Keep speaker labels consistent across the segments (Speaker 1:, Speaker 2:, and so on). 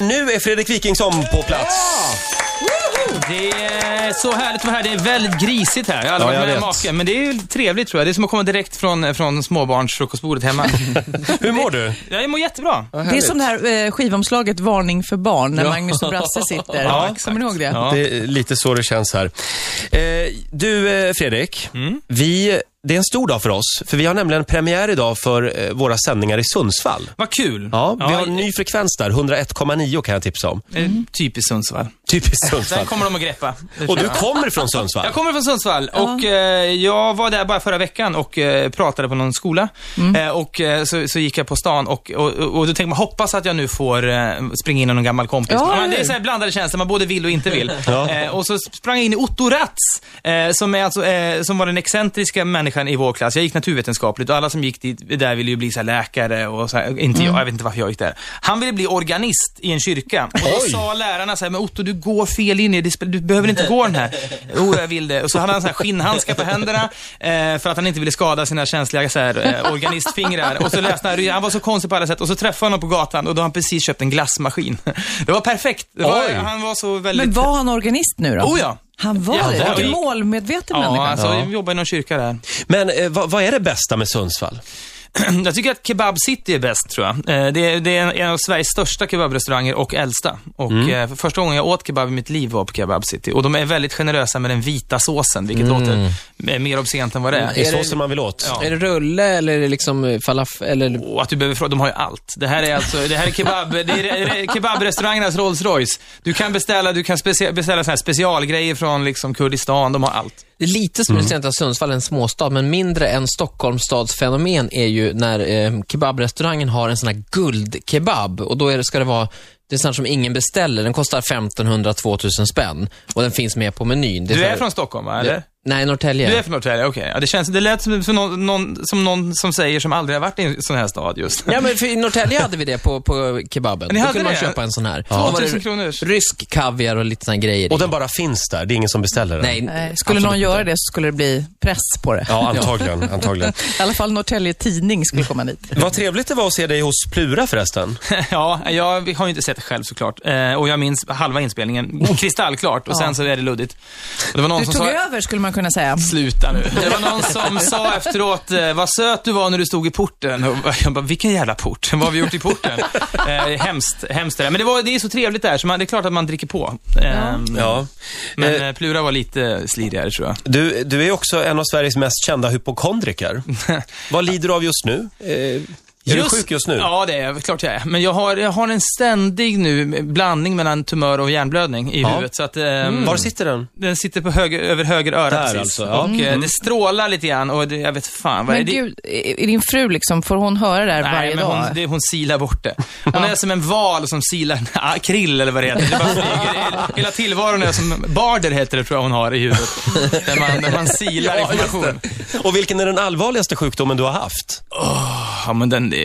Speaker 1: nu är Fredrik Wikingsson på plats.
Speaker 2: Det är så härligt att vara här. Det är väldigt grisigt här. Jag har aldrig
Speaker 1: Ja, jag
Speaker 2: varit med
Speaker 1: vet.
Speaker 2: om maken. Men det är ju trevligt tror jag. Det är som att komma direkt från, från småbarnsfrukostbordet hemma.
Speaker 1: Hur mår du?
Speaker 2: jag mår jättebra.
Speaker 3: Det är som det här eh, skivomslaget Varning för barn när Magnus och Brasse sitter. Kommer ni ihåg det?
Speaker 2: Ja.
Speaker 1: Det är lite så det känns här. Eh, du, eh, Fredrik.
Speaker 2: Mm.
Speaker 1: Vi, det är en stor dag för oss, för vi har nämligen premiär idag för eh, våra sändningar i Sundsvall.
Speaker 2: Vad kul.
Speaker 1: Ja, vi har en ny frekvens där, 101,9 kan jag tipsa om.
Speaker 2: eh, Typiskt Sundsvall.
Speaker 1: Typiskt
Speaker 2: Där
Speaker 1: Sundsvall.
Speaker 2: kommer de att greppa. Det
Speaker 1: Och
Speaker 2: känner
Speaker 1: du
Speaker 2: jag.
Speaker 1: kommer från Sundsvall.
Speaker 2: Jag kommer från Sundsvall och eh, jag var där bara förra veckan och eh, pratade på någon skola.
Speaker 1: Mm.
Speaker 2: Eh, och eh, så, så gick jag på stan och, och, och då tänkte man, hoppas att jag nu får eh, springa in i någon gammal kompis.
Speaker 3: Ja,
Speaker 2: men
Speaker 3: eller
Speaker 2: det är
Speaker 3: hur?
Speaker 2: så här blandade känslor, man både vill och inte vill.
Speaker 1: Ja.
Speaker 2: eh, och så sprang jag in i Otto Ratz, eh, som, är alltså, eh, som var den excentriska människan i vår klass. Jag gick naturvetenskapligt och alla som gick dit, där ville ju bli så här läkare och så här, inte jag, jag vet inte varför jag gick där. Han ville bli organist i en kyrka. Och då
Speaker 1: Oj.
Speaker 2: sa lärarna så här, men Otto du går fel linje, Det spel- du behöver inte gå den här. Jo, jag vill det. Och så hade han så här skinnhandskar på händerna eh, för att han inte ville skada sina känsliga så här, eh, organistfingrar. Och så läste han, han var så konstig på alla sätt. Och så träffade han honom på gatan och då har han precis köpt en glassmaskin. Det var perfekt. Det var,
Speaker 1: Oj.
Speaker 2: han var så
Speaker 3: Men
Speaker 2: väldigt...
Speaker 3: var han organist nu då?
Speaker 2: Oh, ja.
Speaker 3: Han var
Speaker 2: Ja,
Speaker 3: det?
Speaker 2: var
Speaker 3: Vilken
Speaker 2: det.
Speaker 3: målmedveten
Speaker 2: Ja,
Speaker 3: människa.
Speaker 2: alltså,
Speaker 1: Ja.
Speaker 2: jag jobbar i någon kyrka där.
Speaker 1: Men eh, vad, vad är det bästa med Sundsvall?
Speaker 2: Jag tycker att Kebab City är bäst, tror jag. Eh, Det är, det är en- en av Sveriges största kebabrestauranger och äldsta. Och eh, för första gången jag åt kebab i mitt liv var på Kebab City. Och de är väldigt generösa med den vita såsen, vilket låter eh, mer obscent än vad det är.
Speaker 1: Det är såsen man vill åt.
Speaker 2: Ja.
Speaker 4: Är det rulle eller är det liksom falafel? Eller...
Speaker 2: Och att du behöver fråga, de har ju allt. Det här är alltså, det här är kebab, det är re- re- kebabrestaurangernas Rolls Royce. Du kan beställa, du kan specie, beställa så här specialgrejer från liksom Kurdistan, de har allt.
Speaker 4: Det är lite som mm. att Sundsvall är en småstad, men mindre än Stockholms stads fenomen är ju när eh, kebabrestaurangen har en sån här guldkebab och då är det, ska det vara det är sånt som ingen beställer. Den kostar 1500-2000 spänn och den finns med på menyn. Det
Speaker 2: Du
Speaker 4: så
Speaker 2: är
Speaker 4: här-
Speaker 2: från Stockholm, va? Eller?
Speaker 4: Nej, Norrtälje.
Speaker 2: Du är från Norrtälje, okej. Ja, det, känns, det lät som, som, någon, någon, som någon som säger som aldrig har varit i en sån här stad just.
Speaker 4: Ja, men för i Norrtälje hade vi det på, på kebaben.
Speaker 2: Ni
Speaker 4: Då
Speaker 2: hade
Speaker 4: kunde man
Speaker 2: det?
Speaker 4: köpa en sån här. Då var
Speaker 2: 2000
Speaker 4: det
Speaker 2: kronors.
Speaker 4: rysk kaviar och lite såna här grejer.
Speaker 1: Och
Speaker 4: i.
Speaker 1: den bara finns där, det är ingen som beställer den.
Speaker 4: Nej,
Speaker 3: Nej, Eh, skulle någon
Speaker 4: absolut
Speaker 3: göra
Speaker 4: inte.
Speaker 3: det så skulle det bli press på det.
Speaker 1: Ja, antagligen. antagligen.
Speaker 3: I alla fall Norrtälje Tidning skulle komma dit.
Speaker 1: Vad trevligt det var att se dig hos Plura förresten.
Speaker 2: Ja, jag har ju inte sett det själv såklart. Eh, och jag minns halva inspelningen kristallklart och sen så är det luddigt. Och det var någon
Speaker 3: Du
Speaker 2: som
Speaker 3: tog
Speaker 2: sa...
Speaker 3: över skulle man kunna säga.
Speaker 2: Sluta nu. Det var någon som sa efteråt, eh, vad söt du var när du stod i porten. Och jag bara, vilken jävla port? Vad har vi gjort i porten? Eh, hemskt, hemskt det där. Men det, var, det är så trevligt där, så man, det är klart att man dricker på. Eh,
Speaker 1: Ja.
Speaker 2: Men
Speaker 1: Eh,
Speaker 2: eh, Plura var lite slirigare tror jag.
Speaker 1: Du, du är också en av Sveriges mest kända hypokondriker. Vad lider du av just nu? Eh, är du sjuk just nu?
Speaker 2: Ja, det är jag. klart jag är. Men jag har, jag har en ständig nu blandning mellan tumör och hjärnblödning i
Speaker 1: Ja.
Speaker 2: huvudet. Så att, ehm,
Speaker 1: Var sitter den?
Speaker 2: Den sitter på höger, över höger öra
Speaker 1: Där
Speaker 2: precis.
Speaker 1: alltså, ja.
Speaker 2: Och eh, det strålar lite grann och det, jag vet fan vad
Speaker 3: Men
Speaker 2: är det?
Speaker 3: gud, är är din fru liksom, får hon höra det här varje
Speaker 2: Nej, men
Speaker 3: dag?
Speaker 2: hon, det, hon silar bort det. Hon är som en val som silar, ah, krill eller vad det heter. Det bara flyger. Hela tillvaron är som, barder heter det tror jag hon har i huvudet. Där man, där man silar information.
Speaker 1: Och vilken är den allvarligaste sjukdomen du har haft?
Speaker 2: Ja, men den, det,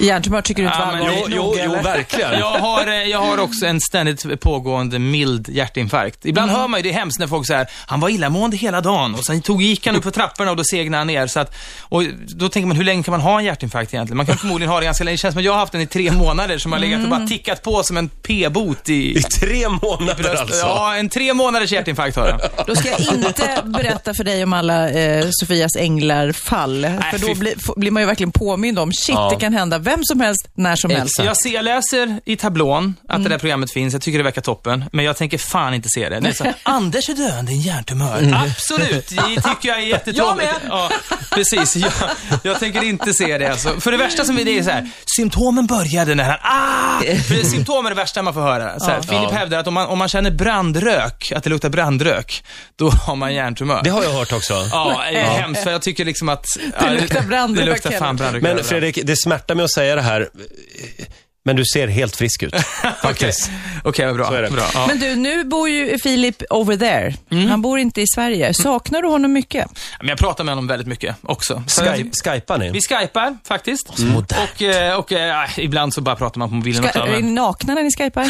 Speaker 3: Hjärntumör tycker du inte
Speaker 2: Ja,
Speaker 3: var
Speaker 2: men-
Speaker 3: allvarligt
Speaker 2: Jo,
Speaker 3: nog, eller?
Speaker 1: verkligen.
Speaker 2: Jag har, eh, jag har också en ständigt pågående mild hjärtinfarkt. Ibland hör man ju, det är hemskt när folk säger han var illamående hela dagen och sen tog, gick han upp för trapporna och då segnade han ner. Så att, och då tänker man, hur länge kan man ha en hjärtinfarkt egentligen? Man kan förmodligen ha det ganska länge. Det känns som att jag har haft den i tre månader som har legat och bara tickat på som en p-bot i
Speaker 1: I tre månader
Speaker 2: bröstet.
Speaker 1: alltså?
Speaker 2: Ja, en tre månaders hjärtinfarkt har jag.
Speaker 3: Då ska jag inte berätta för dig om alla eh, Sofias änglar-fall. för då
Speaker 2: fy-
Speaker 3: blir- f- blir man ju verkligen påmind om, shit, det kan hända vem som helst, när som helst.
Speaker 2: Jag, ser, jag läser i tablån att
Speaker 1: Mm.
Speaker 2: det där programmet finns, jag tycker det verkar toppen, men jag tänker fan inte se det. det är så, här, Anders är döende i en hjärntumör.
Speaker 1: Mm.
Speaker 2: Absolut, det tycker jag är jättetråkigt. Jag med! Ja, precis, jag, jag tänker inte se det alltså. För det värsta som vi det är så här, symptomen började när han, ah! För symptom är det värsta man får höra. Så här, Filip hävdar att om man, om man känner brandrök, att det luktar brandrök, då har man hjärntumör.
Speaker 1: Det har jag hört också.
Speaker 2: Ja, det är hemskt, för jag tycker liksom att... ja,
Speaker 3: luktar brandrök,
Speaker 2: Det luktar fan
Speaker 3: Kenneth.
Speaker 2: brandrök.
Speaker 1: Men
Speaker 2: överallt.
Speaker 1: Fredrik, det smärtar mig att säga det här, men du ser helt frisk ut.
Speaker 2: Okej,
Speaker 1: Faktiskt.
Speaker 2: Okej, vad bra.
Speaker 1: Så är det.
Speaker 2: bra. Ja.
Speaker 3: Men du, nu bor ju Filip over there. Han bor inte i Sverige. Saknar du honom mycket?
Speaker 2: Men jag pratar med honom väldigt mycket också. Så jag
Speaker 1: Sky-
Speaker 2: typ-
Speaker 1: Skypar ni?
Speaker 2: vi skypar faktiskt.
Speaker 1: Mm.
Speaker 2: Och, eh, och eh, ibland så bara pratar man på mobilen.
Speaker 3: Ska,
Speaker 2: och
Speaker 3: är ni nakna när ni skypar?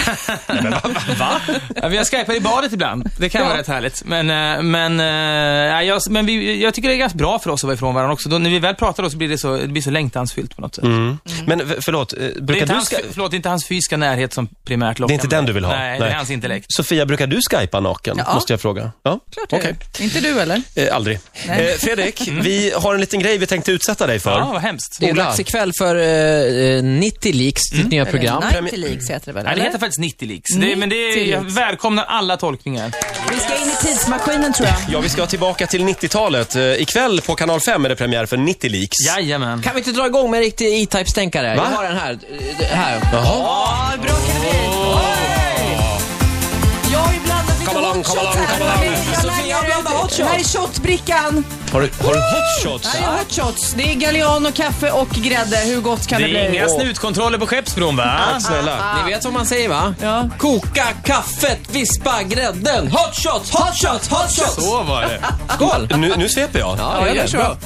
Speaker 2: Va? Ja, vi har skypat i badet ibland. Det kan vara rätt härligt. Men, eh, men, eh, nej, jag, men vi, jag tycker det är ganska bra för oss att vara ifrån varandra också. Då, när vi väl pratar då så blir det så, det blir så längtansfyllt på något sätt.
Speaker 1: Men v- förlåt, eh,
Speaker 2: Mm. Det är
Speaker 1: brukar
Speaker 2: inte
Speaker 1: Mm. du
Speaker 2: hans,
Speaker 1: ska...
Speaker 2: förlåt, det är inte hans fysiska närhet som primärt lockar
Speaker 1: Det är inte
Speaker 2: mig.
Speaker 1: den du vill ha?
Speaker 2: Nej, det är hans intellekt.
Speaker 1: Sofia, brukar du skypa naken?
Speaker 3: Ja.
Speaker 1: Måste jag fråga. Ja,
Speaker 3: Klart jag
Speaker 1: okej.
Speaker 3: gör. Inte du eller?
Speaker 1: Eh, aldrig.
Speaker 3: Nej. Mm.
Speaker 1: Eh, Fredrik, vi har en liten grej vi tänkte utsätta dig för.
Speaker 2: Ja, vad hemskt.
Speaker 4: Det är dags ikväll för eh, eh, 90 leaks, ditt
Speaker 2: Mm.
Speaker 4: nya program.
Speaker 3: Eller Night Leaks heter det väl?
Speaker 2: Nej, det
Speaker 3: eller?
Speaker 2: heter faktiskt 90 leaks. Det, men det är, jag
Speaker 3: 90
Speaker 2: välkomnar alla tolkningar.
Speaker 3: Vi ska in i tidsmaskinen tror jag.
Speaker 1: Ja, vi ska tillbaka till 90-talet. Eh, ikväll på Kanal 5 är det premiär för 90 Leaks.
Speaker 2: Jajamän.
Speaker 4: Kan vi inte dra igång med en riktig E-Type-stänkare? Jag har den här. Eh, det här.
Speaker 1: Jaha.
Speaker 3: Ja, bra kalori. Jag har ju blandat lite
Speaker 1: Kom along,
Speaker 3: hot
Speaker 1: kom
Speaker 3: shots
Speaker 1: along,
Speaker 3: här.
Speaker 1: kom along.
Speaker 3: Jag
Speaker 4: Sofia
Speaker 3: langar
Speaker 4: blandar
Speaker 3: ut-
Speaker 4: hot shots.
Speaker 3: Här är shotbrickan.
Speaker 1: Har du, har du hot shots?
Speaker 3: Här är hot shots. Det är Galliano, kaffe och grädde. Hur gott kan det,
Speaker 2: Det är
Speaker 3: bli?
Speaker 2: inga snutkontroller på Skeppsbron, va?
Speaker 1: Tack snälla.
Speaker 4: Ni vet vad man säger va?
Speaker 3: Ja.
Speaker 4: Koka kaffet, vispa grädden. Hot shots, hot shots, hot shots!
Speaker 2: Så var det.
Speaker 4: Skål!
Speaker 1: Nu, nu sveper jag.
Speaker 4: Ja, gör det.
Speaker 3: så.
Speaker 4: Bra.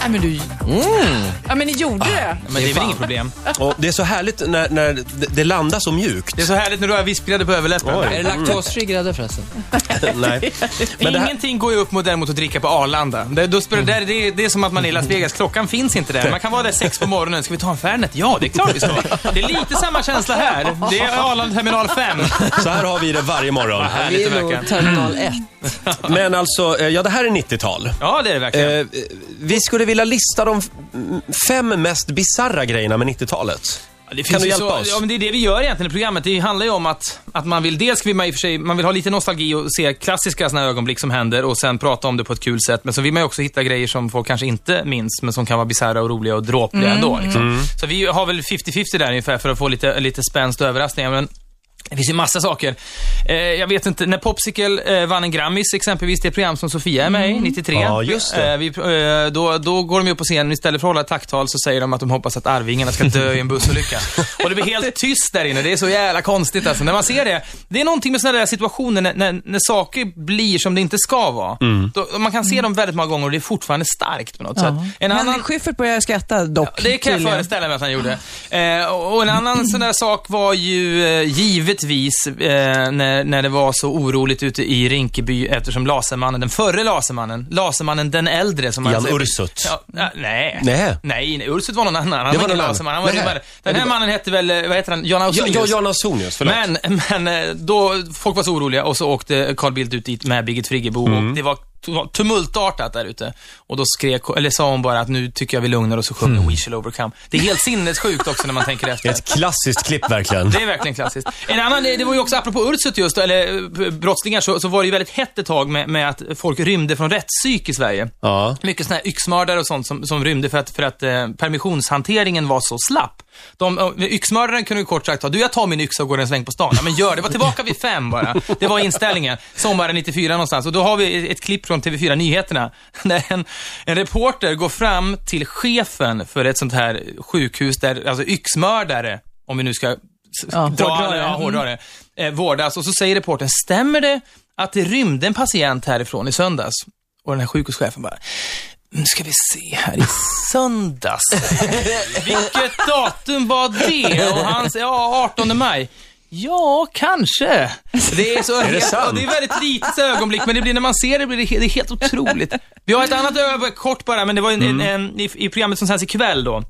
Speaker 3: Nej, men du... Ja, men ni gjorde det.
Speaker 2: Men det är väl inget problem.
Speaker 1: Och det är så härligt när, när det, det landar så mjukt.
Speaker 2: Det är så härligt när du har visplade på överläppen.
Speaker 1: Oj.
Speaker 4: Är det laktosfri grädde förresten?
Speaker 1: Nej. Men det här, Mm.
Speaker 2: Ingenting går ju upp mot däremot att dricka på Arlanda. Det, då spelar, där, det, det är som att man är i Las Vegas. Klockan finns inte där. Man kan vara där sex på morgonen. Ska vi ta en Fernet? Ja, det är klart vi ska. Det är lite samma känsla här. Det är Arlanda terminal 5.
Speaker 1: så här har vi det varje morgon.
Speaker 4: Det
Speaker 2: Härligt
Speaker 4: är
Speaker 2: det
Speaker 4: nog
Speaker 2: verkar.
Speaker 4: terminal 1.
Speaker 1: Men alltså, eh, ja det här är 90-tal.
Speaker 2: Ja, det är det verkligen.
Speaker 1: Eh, vi skulle vilja lista de f- m- fem mest bizarra grejerna med 90-talet.
Speaker 2: Det finns
Speaker 1: Kan du
Speaker 2: ju
Speaker 1: hjälpa
Speaker 2: så,
Speaker 1: oss?
Speaker 2: Ja, men det är det vi gör egentligen i programmet. Det handlar ju om att, att man vill, dels vill man i och för sig, man vill ha lite nostalgi och se klassiska såna här ögonblick som händer och sen prata om det på ett kul sätt. Men så vill man ju också hitta grejer som folk kanske inte minns, men som kan vara bisarra och roliga och dråpliga ändå.
Speaker 1: Mm.
Speaker 2: Liksom. Så vi har väl 50-50 där ungefär för att få lite, lite spänst och överraskningar. Men det finns ju massa saker. Eh, jag vet inte, när Popsicle eh, vann en Grammis exempelvis, det är ett program som Sofia är med i, 93.
Speaker 1: Mm. Ja, just det.
Speaker 2: Eh, vi, eh, då, då går de ju upp på scenen, istället för att hålla ett tacktal så säger de att de hoppas att Arvingarna ska dö i en bussolycka. Och det blir helt tyst där inne, det är så jävla konstigt alltså. När man ser det, det är någonting med sådana där situationer när, när, när saker blir som det inte ska vara. Då, man kan se dem väldigt många gånger och det är fortfarande starkt på något sätt. En
Speaker 3: Mm. Men
Speaker 2: annan,
Speaker 3: Schyffert började skratta
Speaker 2: det
Speaker 3: dock.
Speaker 2: kan jag
Speaker 3: tydligen.
Speaker 2: föreställa mig att han gjorde. Eh, och och en annan sån där sak var ju eh, givetvis eh, när, när det var så oroligt ute i Rinkeby eftersom Lasermannen, den förre Lasermannen, Lasermannen den äldre som alltså-
Speaker 1: Jan Ursut.
Speaker 2: Ja, ja, nej.
Speaker 1: Nej.
Speaker 2: Nej, nej, Ursut var någon annan. Han
Speaker 1: Det
Speaker 2: var
Speaker 1: var
Speaker 2: inte
Speaker 1: någon annan.
Speaker 2: Lasermannen. Han var
Speaker 1: Nej.
Speaker 2: rymmare. Den här mannen hette väl, eh, vad heter han, Jan
Speaker 1: Ja,
Speaker 2: Ausonius?
Speaker 1: ja, Jan Ausonius, förlåt.
Speaker 2: Men, men eh, då, folk var så oroliga och så åkte Carl Bildt ut dit med Birgit Friggebo
Speaker 1: Mm.
Speaker 2: och det var tu- tumultartat där ute. Och då skrek, eller sa hon bara att nu tycker jag vi lugnar oss och sjunger
Speaker 1: Mm.
Speaker 2: We shall overcome. Det är helt sinnessjukt också när man tänker efter.
Speaker 1: Ett klassiskt klipp verkligen.
Speaker 2: Det är verkligen klassiskt. En annan, eh, det var ju också apropå Ursut just, eller eh, brottslingar, så, så var det ju väldigt hett ett tag med, med att folk rymde från rättspsyk i Sverige.
Speaker 1: Ja.
Speaker 2: Mycket sådana här yxmördare och sånt som, som rymde för att, för att eh, permissionshanteringen var så slapp. De, eh, yxmördaren kunde ju kort sagt ta, du jag tar min yxa och går en sväng på stan. Ja, men gör det, var tillbaka vid fem bara. Det var inställningen. Sommaren 94 någonstans. Och då har vi ett klipp från TV4 Nyheterna. När en, en reporter går fram till chefen för ett sånt här sjukhus där, alltså yxmördare, om vi nu ska s-
Speaker 3: Ja,
Speaker 2: dra,
Speaker 3: hårdra det. Mm.
Speaker 2: hårdra, ja, hårdra det, eh, vårdas. Och så säger reportern, stämmer det att det rymde en patient härifrån i söndags? Och den här sjukhuschefen bara, nu ska vi se här i söndags. Vilket datum var det? Och han säger, ja, 18 maj. Ja, kanske. Det är, så
Speaker 1: det sant?
Speaker 2: och det är väldigt litet ögonblick, men det blir när man ser det blir det, he- det är helt otroligt. Vi har ett annat ögonblick, kort bara, men det var en, en, en, i, i programmet som sänds ikväll då.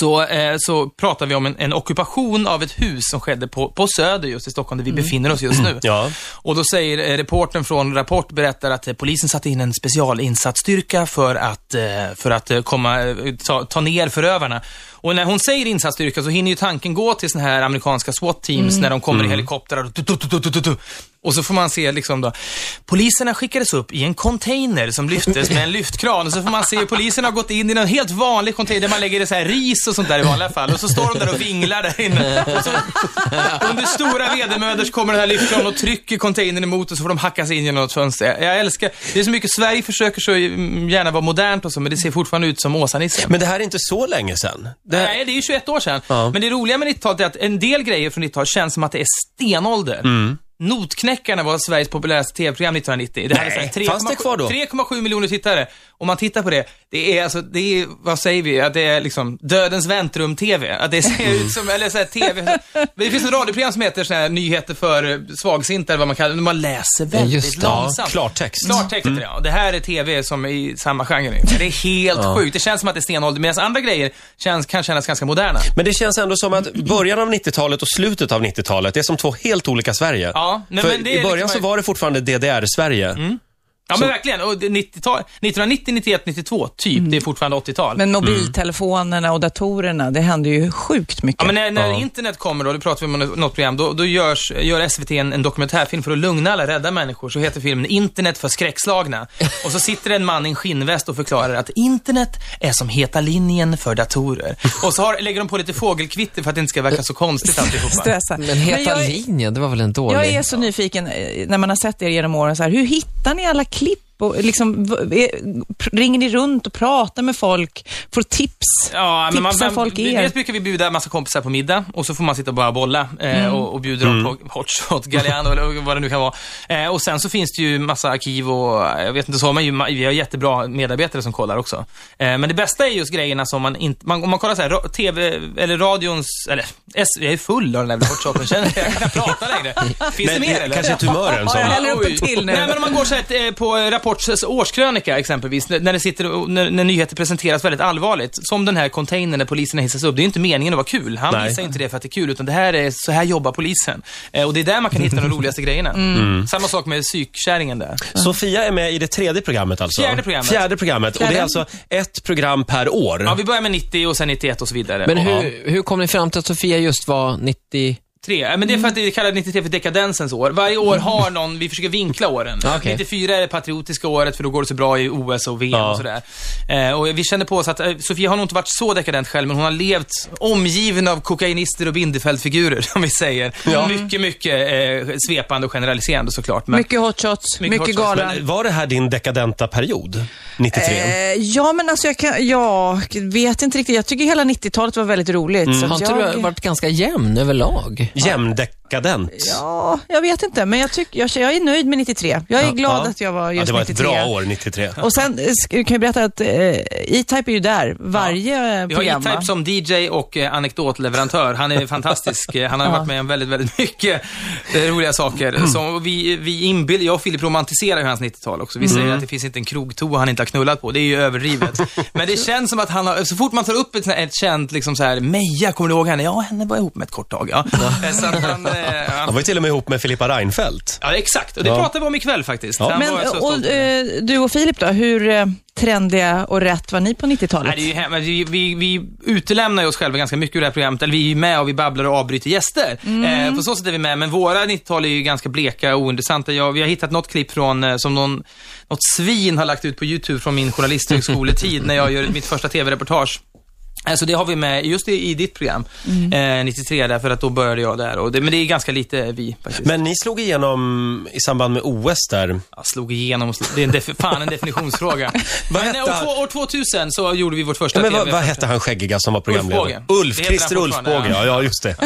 Speaker 2: Så, eh, så pratar vi om en, en ockupation av ett hus som skedde på, på Söder just i Stockholm, där vi befinner oss just nu.
Speaker 1: Ja.
Speaker 2: Och då säger eh, reportern från Rapport berättar att eh, polisen satte in en specialinsatsstyrka för att, eh, för att eh, komma, eh, ta, ta ner förövarna. Och när hon säger insatsstyrka så hinner ju tanken gå till såna här amerikanska SWAT-teams när de kommer i helikoptrar. och tu- tu- tu- tu- tu- tu- tu. Och så får man se liksom då, poliserna skickades upp i en container som lyftes med en lyftkran och så får man se hur polisen har gått in i någon helt vanlig container där man lägger i så här ris och sånt där i vanliga fall och så står de där och vinglar där inne. Och så, under stora vedermödor så kommer den här lyftkran och trycker containern emot och så får de hacka sig in genom något fönster. Jag, jag älskar, det är så mycket, Sverige försöker så mm, gärna vara modernt och så men det ser fortfarande ut som Åsa-Nisse.
Speaker 1: Men det här är inte så länge sedan. Det här...
Speaker 2: Nej, det är ju 21 år sedan.
Speaker 1: Ja. Mm.
Speaker 2: Men det roliga med 90-talet är att en del grejer från 90-talet känns som att det är stenålder. Notknäckarna var Sveriges populäraste tv-program 1990. Det hade
Speaker 1: Nej,
Speaker 2: så här
Speaker 1: fanns det kvar då?
Speaker 2: 3,7 miljoner tittare. Om man tittar på det, det är alltså, det är, vad säger vi, att det är liksom dödens väntrum-tv. Att det ser ut som, eller så här tv. Men det finns ett radioprogram som heter så här, nyheter för eh, svagsinta eller vad man kallar det, när man läser väldigt
Speaker 4: just det. Ja,
Speaker 2: långsamt.
Speaker 1: Klartext.
Speaker 2: Klartext heter det, ja. Det här är tv som är i samma genre. nu. Det är helt sjukt. Det känns som att det är stenålder, medan andra grejer känns, kan kännas ganska moderna.
Speaker 1: Men det känns ändå som att början av 90-talet och slutet av 90-talet, det är som två helt olika Sverige.
Speaker 2: Ja, nej,
Speaker 1: För
Speaker 2: men det är
Speaker 1: I början
Speaker 2: liksom-
Speaker 1: så var det fortfarande DDR-Sverige.
Speaker 2: Mm. Ja men verkligen. Och det är 90-tal, 1990, 91, 92, typ. Det är fortfarande 80-tal.
Speaker 3: Men mobiltelefonerna och datorerna, det hände ju sjukt mycket.
Speaker 2: Ja, men när, när internet kommer då, det pratar vi om i något program, då, då görs, gör SVT en, en dokumentärfilm för att lugna alla rädda människor. Så heter filmen Internet för skräckslagna. Och så sitter en man i en skinnväst och förklarar att internet är som heta linjen för datorer. Och så har, lägger de på lite fågelkvitter för att det inte ska verka så konstigt alltihopa.
Speaker 3: Stressa.
Speaker 4: Men Heta
Speaker 3: jag,
Speaker 4: linjen, det var väl en dålig...
Speaker 3: jag är så nyfiken eh, när man har sett er genom åren, så här, hur hittar ni alla klipp? Och liksom, v- är, pr- ringer ni runt och pratar med folk? Får tips?
Speaker 2: Ja, men man,
Speaker 3: Tipsar
Speaker 2: man,
Speaker 3: folk er?
Speaker 2: dels brukar vi bjuda en massa kompisar på middag och så får man sitta och bara bolla eh,
Speaker 3: Mm.
Speaker 2: och, och bjuder
Speaker 1: Mm.
Speaker 2: dem på hot shot, Galliano eller vad det nu kan vara. Eh, och sen så finns det ju massa arkiv och eh, jag vet inte, så har man ju, ma- vi har jättebra medarbetare som kollar också. Eh, men det bästa är just grejerna som man inte, man, om man kollar så här, ra- TV eller radions, eller S, jag är full av den där jävla hot shoten, känner jag, jag kan knappt prata längre. Finns det mer eller?
Speaker 1: Kanske är tumören som...
Speaker 3: Ja, jag häller upp
Speaker 2: Oj.
Speaker 3: en till nu.
Speaker 2: Nej, men om man går så här, eh, på Rapports årskrönika exempelvis, när, när, det sitter, och- när, när nyheter presenteras väldigt allvarligt, som den här containern när polisen hissas upp, det är ju inte meningen att vara kul. Han
Speaker 1: Nej.
Speaker 2: visar ju inte det för att det är kul, utan det här är, så här jobbar polisen. Eh, och det är där man kan hitta de roligaste grejerna.
Speaker 3: Mm.
Speaker 2: Samma sak med psykkärringen där.
Speaker 1: Sofia är med i det tredje programmet alltså?
Speaker 2: Fjärde programmet.
Speaker 1: Fjärde programmet. Och det är alltså ett program per år.
Speaker 2: Ja, vi börjar med 90 och sen 91 och så vidare.
Speaker 4: Men
Speaker 2: Och-
Speaker 4: hur, hur kom ni fram till att Sofia just var 90...
Speaker 2: Tre. Ja, Men det är för att det kallas 93 för dekadensens år. Varje år har någon, vi försöker vinkla åren.
Speaker 4: Okej.
Speaker 2: 94 är det patriotiska året för då går det så bra i OS och VM
Speaker 1: Ja.
Speaker 2: och sådär. Eh, och vi kände på oss att eh, Sofia har nog inte varit så dekadent själv, men hon har levt omgiven av kokainister och Bindefeldfigurer, som vi säger. Mycket, mycket eh, svepande och generaliserande såklart. Men,
Speaker 3: Mycket hot shots,
Speaker 2: Mycket
Speaker 3: mycket,
Speaker 2: hot shots,
Speaker 3: gala.
Speaker 1: Men var det här din dekadenta period? 93?
Speaker 3: Eh, ja, men alltså jag kan, jag vet inte riktigt. Jag tycker hela 90-talet var väldigt roligt. Så
Speaker 4: Mm. Har
Speaker 3: att
Speaker 4: inte du
Speaker 3: jag,
Speaker 4: varit ganska jämn överlag?
Speaker 1: Jämndekadent?
Speaker 3: Ja, jag vet inte, men jag, tycker jag, jag är nöjd med 93. Jag är glad
Speaker 1: Ja.
Speaker 3: att jag var just
Speaker 1: ja, det var ett
Speaker 3: 93.
Speaker 1: bra år, 93.
Speaker 3: Och sen eh, sk- kan jag berätta att eh, E-Type är ju där varje eh,
Speaker 2: Vi har
Speaker 3: program.
Speaker 2: E-Type
Speaker 3: va?
Speaker 2: som DJ och eh, anekdotleverantör. Han är fantastisk. Eh, Han har varit med om väldigt, väldigt mycket eh, roliga
Speaker 3: Mm.
Speaker 2: saker. Så vi, vi inbill, jag och Filip romantiserar ju hans 90-tal också. Vi
Speaker 3: Mm.
Speaker 2: säger att det finns inte en krogtoa han inte har knullat på. Det är ju överdrivet. Men det känns som att han har, så fort man tar upp ett, sånt här- ett känt, liksom så här, Meja, kommer du ihåg henne? Ja, henne var jag ihop med ett kort tag. Ja. Eh, Så att han, eh,
Speaker 1: Han
Speaker 2: han,
Speaker 1: var ju till och med ihop med Filippa Reinfeldt. Ja.
Speaker 2: ja, exakt. Och det
Speaker 1: Ja.
Speaker 2: pratar vi om ikväll faktiskt.
Speaker 1: Ja.
Speaker 2: Han
Speaker 3: Men
Speaker 2: var så stolt
Speaker 3: och,
Speaker 2: över det.
Speaker 3: eh, du och Filip då, hur eh, trendiga och rätt var ni på 90-talet?
Speaker 2: Nej, det är ju hemma. Vi, vi, vi utelämnar ju oss själva ganska mycket ur det här programmet. Eller vi är ju med och vi babblar och avbryter gäster.
Speaker 1: Mm.
Speaker 2: Eh, på så sätt är vi med. Men våra 90-tal är ju ganska bleka och ointressanta. Jag, vi har hittat något klipp från, eh, som någon, något svin har lagt ut på YouTube från min journalisthögskoletid när jag gör mitt första tv-reportage. Eh, Så det har vi med just i, i ditt program,
Speaker 1: Mm.
Speaker 2: eh, 93, därför att då började jag där. Och det, men det är ganska lite vi faktiskt.
Speaker 1: Men ni slog igenom i samband med OS där.
Speaker 2: Jag slog igenom, och slog- det är en def- fan en definitionsfråga.
Speaker 1: Vad
Speaker 2: men, eh,
Speaker 1: hette
Speaker 2: år,
Speaker 1: han?
Speaker 2: två- år 2000 så gjorde vi vårt första
Speaker 1: Ja, men vad,
Speaker 2: tv
Speaker 1: vad hette han skäggiga som var programledare?
Speaker 2: Ulfbåge.
Speaker 1: Ulf,
Speaker 2: Det heter
Speaker 1: Christer
Speaker 2: han fortfarande,
Speaker 1: Ulfbåge. Ja, ja, just det.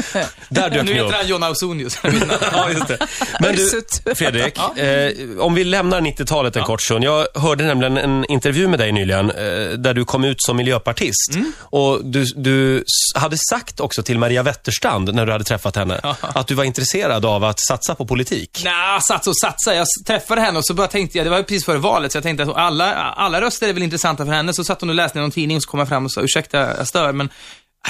Speaker 1: Där dök
Speaker 2: Nu
Speaker 1: ni upp.
Speaker 2: heter han John Ausonius.
Speaker 1: Ja, just det. Men du, Fredrik, eh, om vi lämnar 90-talet en kort stund. Jag hörde nämligen en intervju med dig nyligen eh, där du kom ut som miljöpartist.
Speaker 2: Mm.
Speaker 1: Och du, du s- hade sagt också till Maria Wetterstrand, när du hade träffat henne, att du var intresserad av att satsa på politik.
Speaker 2: Nej, satsa och satsa. Jag träffade henne och så bara tänkte jag, det var ju precis före valet, så jag tänkte att alla, alla röster är väl intressanta för henne. Så satt hon och läste i någon tidning och så kom jag fram och sa, ursäkta jag stör, men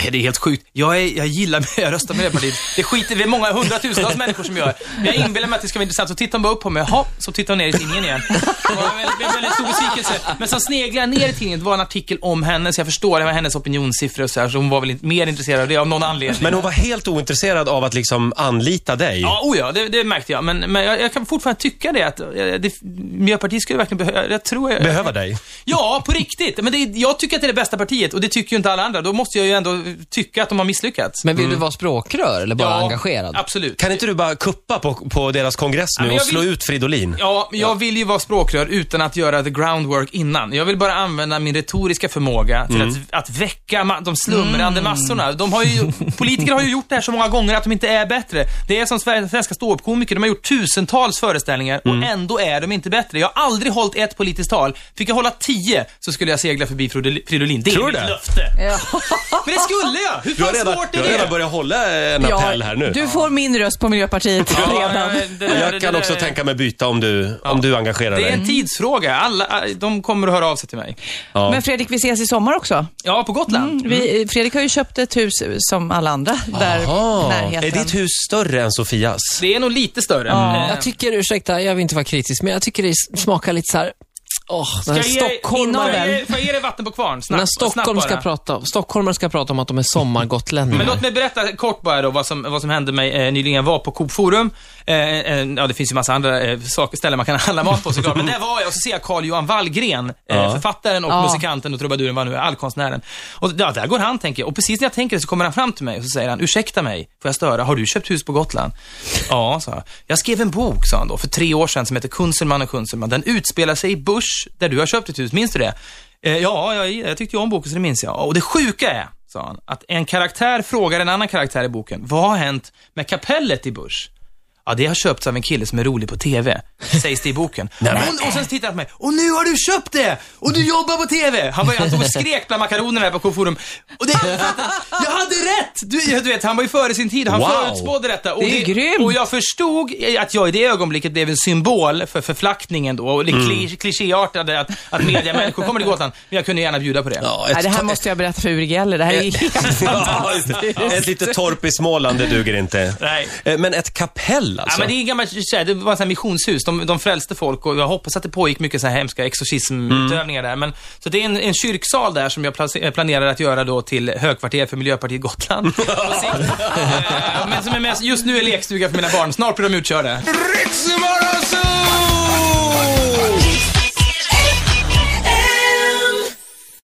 Speaker 2: Nej, det är helt sjukt. Jag, är, jag gillar mig, jag röstar med Miljöpartiet. Det skiter vi är många hundratusentals människor som gör. Men jag inbillar mig att det ska vara intressant. Så tittar hon bara upp på mig, jaha, så tittar hon ner i tidningen igen. Det var en väldigt, en väldigt stor besvikelse. Men så sneglade jag ner i tidningen, det var en artikel om henne, så jag förstår, det var hennes opinionssiffror och så här, så hon var väl inte- mer intresserad av det av någon anledning.
Speaker 1: Men hon var helt ointresserad av att liksom anlita dig.
Speaker 2: Ja, oh ja, det, det märkte jag. Men, men jag, jag kan fortfarande tycka det att eh, det, Miljöpartiet skulle verkligen behöva... Jag tror jag...
Speaker 1: Behöva dig.
Speaker 2: Ja, på riktigt. Men det, är- jag tycker att det är det bästa partiet och det tycker ju inte alla andra. Då måste jag ju ändå tycka att de har misslyckats.
Speaker 4: Men vill du vara språkrör eller bara
Speaker 2: Ja,
Speaker 4: engagerad?
Speaker 2: Absolut.
Speaker 1: Kan inte du bara kuppa på, på deras kongress nu
Speaker 2: men
Speaker 1: och
Speaker 2: jag
Speaker 1: slå
Speaker 2: vill-
Speaker 1: ut Fridolin?
Speaker 2: Ja, men jag vill ju vara språkrör utan att göra the groundwork innan. Jag vill bara använda min retoriska förmåga till
Speaker 1: Mm.
Speaker 2: att, att väcka ma- de slumrande massorna. De har ju, politiker har ju gjort det här så många gånger att de inte är bättre. Det är som Sver- svenska ståuppkomiker, de har gjort tusentals föreställningar
Speaker 1: Mm.
Speaker 2: och ändå är de inte bättre. Jag har aldrig hållit ett politiskt tal. Fick jag hålla tio så skulle jag segla förbi Fridol- Fridolin. Det är
Speaker 1: Tror
Speaker 2: mitt
Speaker 1: du det?
Speaker 2: löfte.
Speaker 3: Ja.
Speaker 2: Men det skulle jag! Hur
Speaker 1: Du har
Speaker 2: fan
Speaker 1: redan,
Speaker 2: svårt
Speaker 1: du har
Speaker 2: är
Speaker 1: redan
Speaker 2: det?
Speaker 1: börjat hålla en appell här nu.
Speaker 3: Du får min röst på Miljöpartiet
Speaker 2: Ja,
Speaker 3: redan.
Speaker 2: ja, det där- det
Speaker 1: Jag kan
Speaker 2: där
Speaker 1: också
Speaker 2: är-
Speaker 1: tänka mig byta om du, om du engagerar
Speaker 2: Det är
Speaker 1: dig.
Speaker 2: en tidsfråga. Alla, de kommer att höra av sig till mig.
Speaker 1: Ja. Mm.
Speaker 3: Men Fredrik, vi ses i sommar också.
Speaker 2: Ja, på Gotland.
Speaker 3: Vi, eh, Fredrik har ju köpt ett hus som alla andra där
Speaker 4: Aha.
Speaker 3: i närheten.
Speaker 1: Ah, Är ditt hus större än Sofias?
Speaker 2: Det är nog lite större.
Speaker 4: Mm. Jag tycker, ursäkta, jag vill inte vara kritisk, men jag tycker det smakar lite så här. Åh, den här
Speaker 2: Får
Speaker 4: stockholmaren.
Speaker 2: jag ge- får jag ge dig vatten på kvarn? Snabbt,
Speaker 4: När Stockholm
Speaker 2: snabbt
Speaker 4: ska
Speaker 2: bara.
Speaker 4: prata, stockholmare ska prata om att de är sommargotlänningar.
Speaker 2: Men låt mig berätta kort bara då vad som, vad som hände mig eh, nyligen. Jag var på Coop Forum. Eh, eh, ja, det finns ju massa andra eh, saker, ställen man kan handla mat på såklart. Men där var jag och så ser jag Carl-Johan Wallgren, eh,
Speaker 1: Ja.
Speaker 2: författaren och
Speaker 4: Ja.
Speaker 2: musikanten och trubaduren, vad nu är, allkonstnären. Och ja, där går han tänker jag. Och precis när jag tänker det så kommer han fram till mig och så säger han, ursäkta mig, får jag störa? Har du köpt hus på Gotland? Ja, sa jag. Jag skrev en bok, sa han då, för tre år sedan som heter Kunselman och Kunselman. Den utspelar sig i Bush, där du har köpt ett hus. Minns du det? Eh, ja, jag, jag tyckte ju om boken så det minns jag. Och det sjuka är, sa han, att en karaktär frågar en annan karaktär i boken, vad har hänt med kapellet i Bush? Ja, det har köpts av en kille som är rolig på TV, sägs det i boken. och, och sen tittar han på mig, och nu har du köpt det! Och du jobbar på TV! Han, var, han stod och skrek bland makaronerna här på K-forum. Och det, jag hade rätt! Du, du vet, han var ju före sin tid, han
Speaker 1: Wow.
Speaker 2: förutspådde detta. Och
Speaker 3: Det är grymt.
Speaker 2: Och jag förstod att jag i det ögonblicket blev en symbol för förflackningen då, och det
Speaker 3: Mm.
Speaker 2: kli- klichéartade att, att mediamänniskor kommer till Gotland, men jag kunde gärna bjuda på det.
Speaker 1: Ja,
Speaker 3: Nej, det här måste jag berätta för Uri Geller. Det här
Speaker 1: Eh,
Speaker 3: är helt
Speaker 1: Ja, just
Speaker 3: fantastiskt.
Speaker 1: det. Ett litet torp i Småland, det duger inte.
Speaker 2: Nej.
Speaker 1: Eh, Men ett kapell
Speaker 2: Ja,
Speaker 1: alltså?
Speaker 2: men det är gammalt, så här, det var så här missionshus. De, de frälste folk och jag hoppas att det pågick mycket så här hemska exorcismutövningar där. Men, så det är en, en kyrksal där som jag place- eh, planerar att göra då till högkvarter för Miljöpartiet Gotland. På sikt. Eh, men som är mest, just nu är lekstuga för mina barn. Snart blir de utkörda. Riksmorgonso!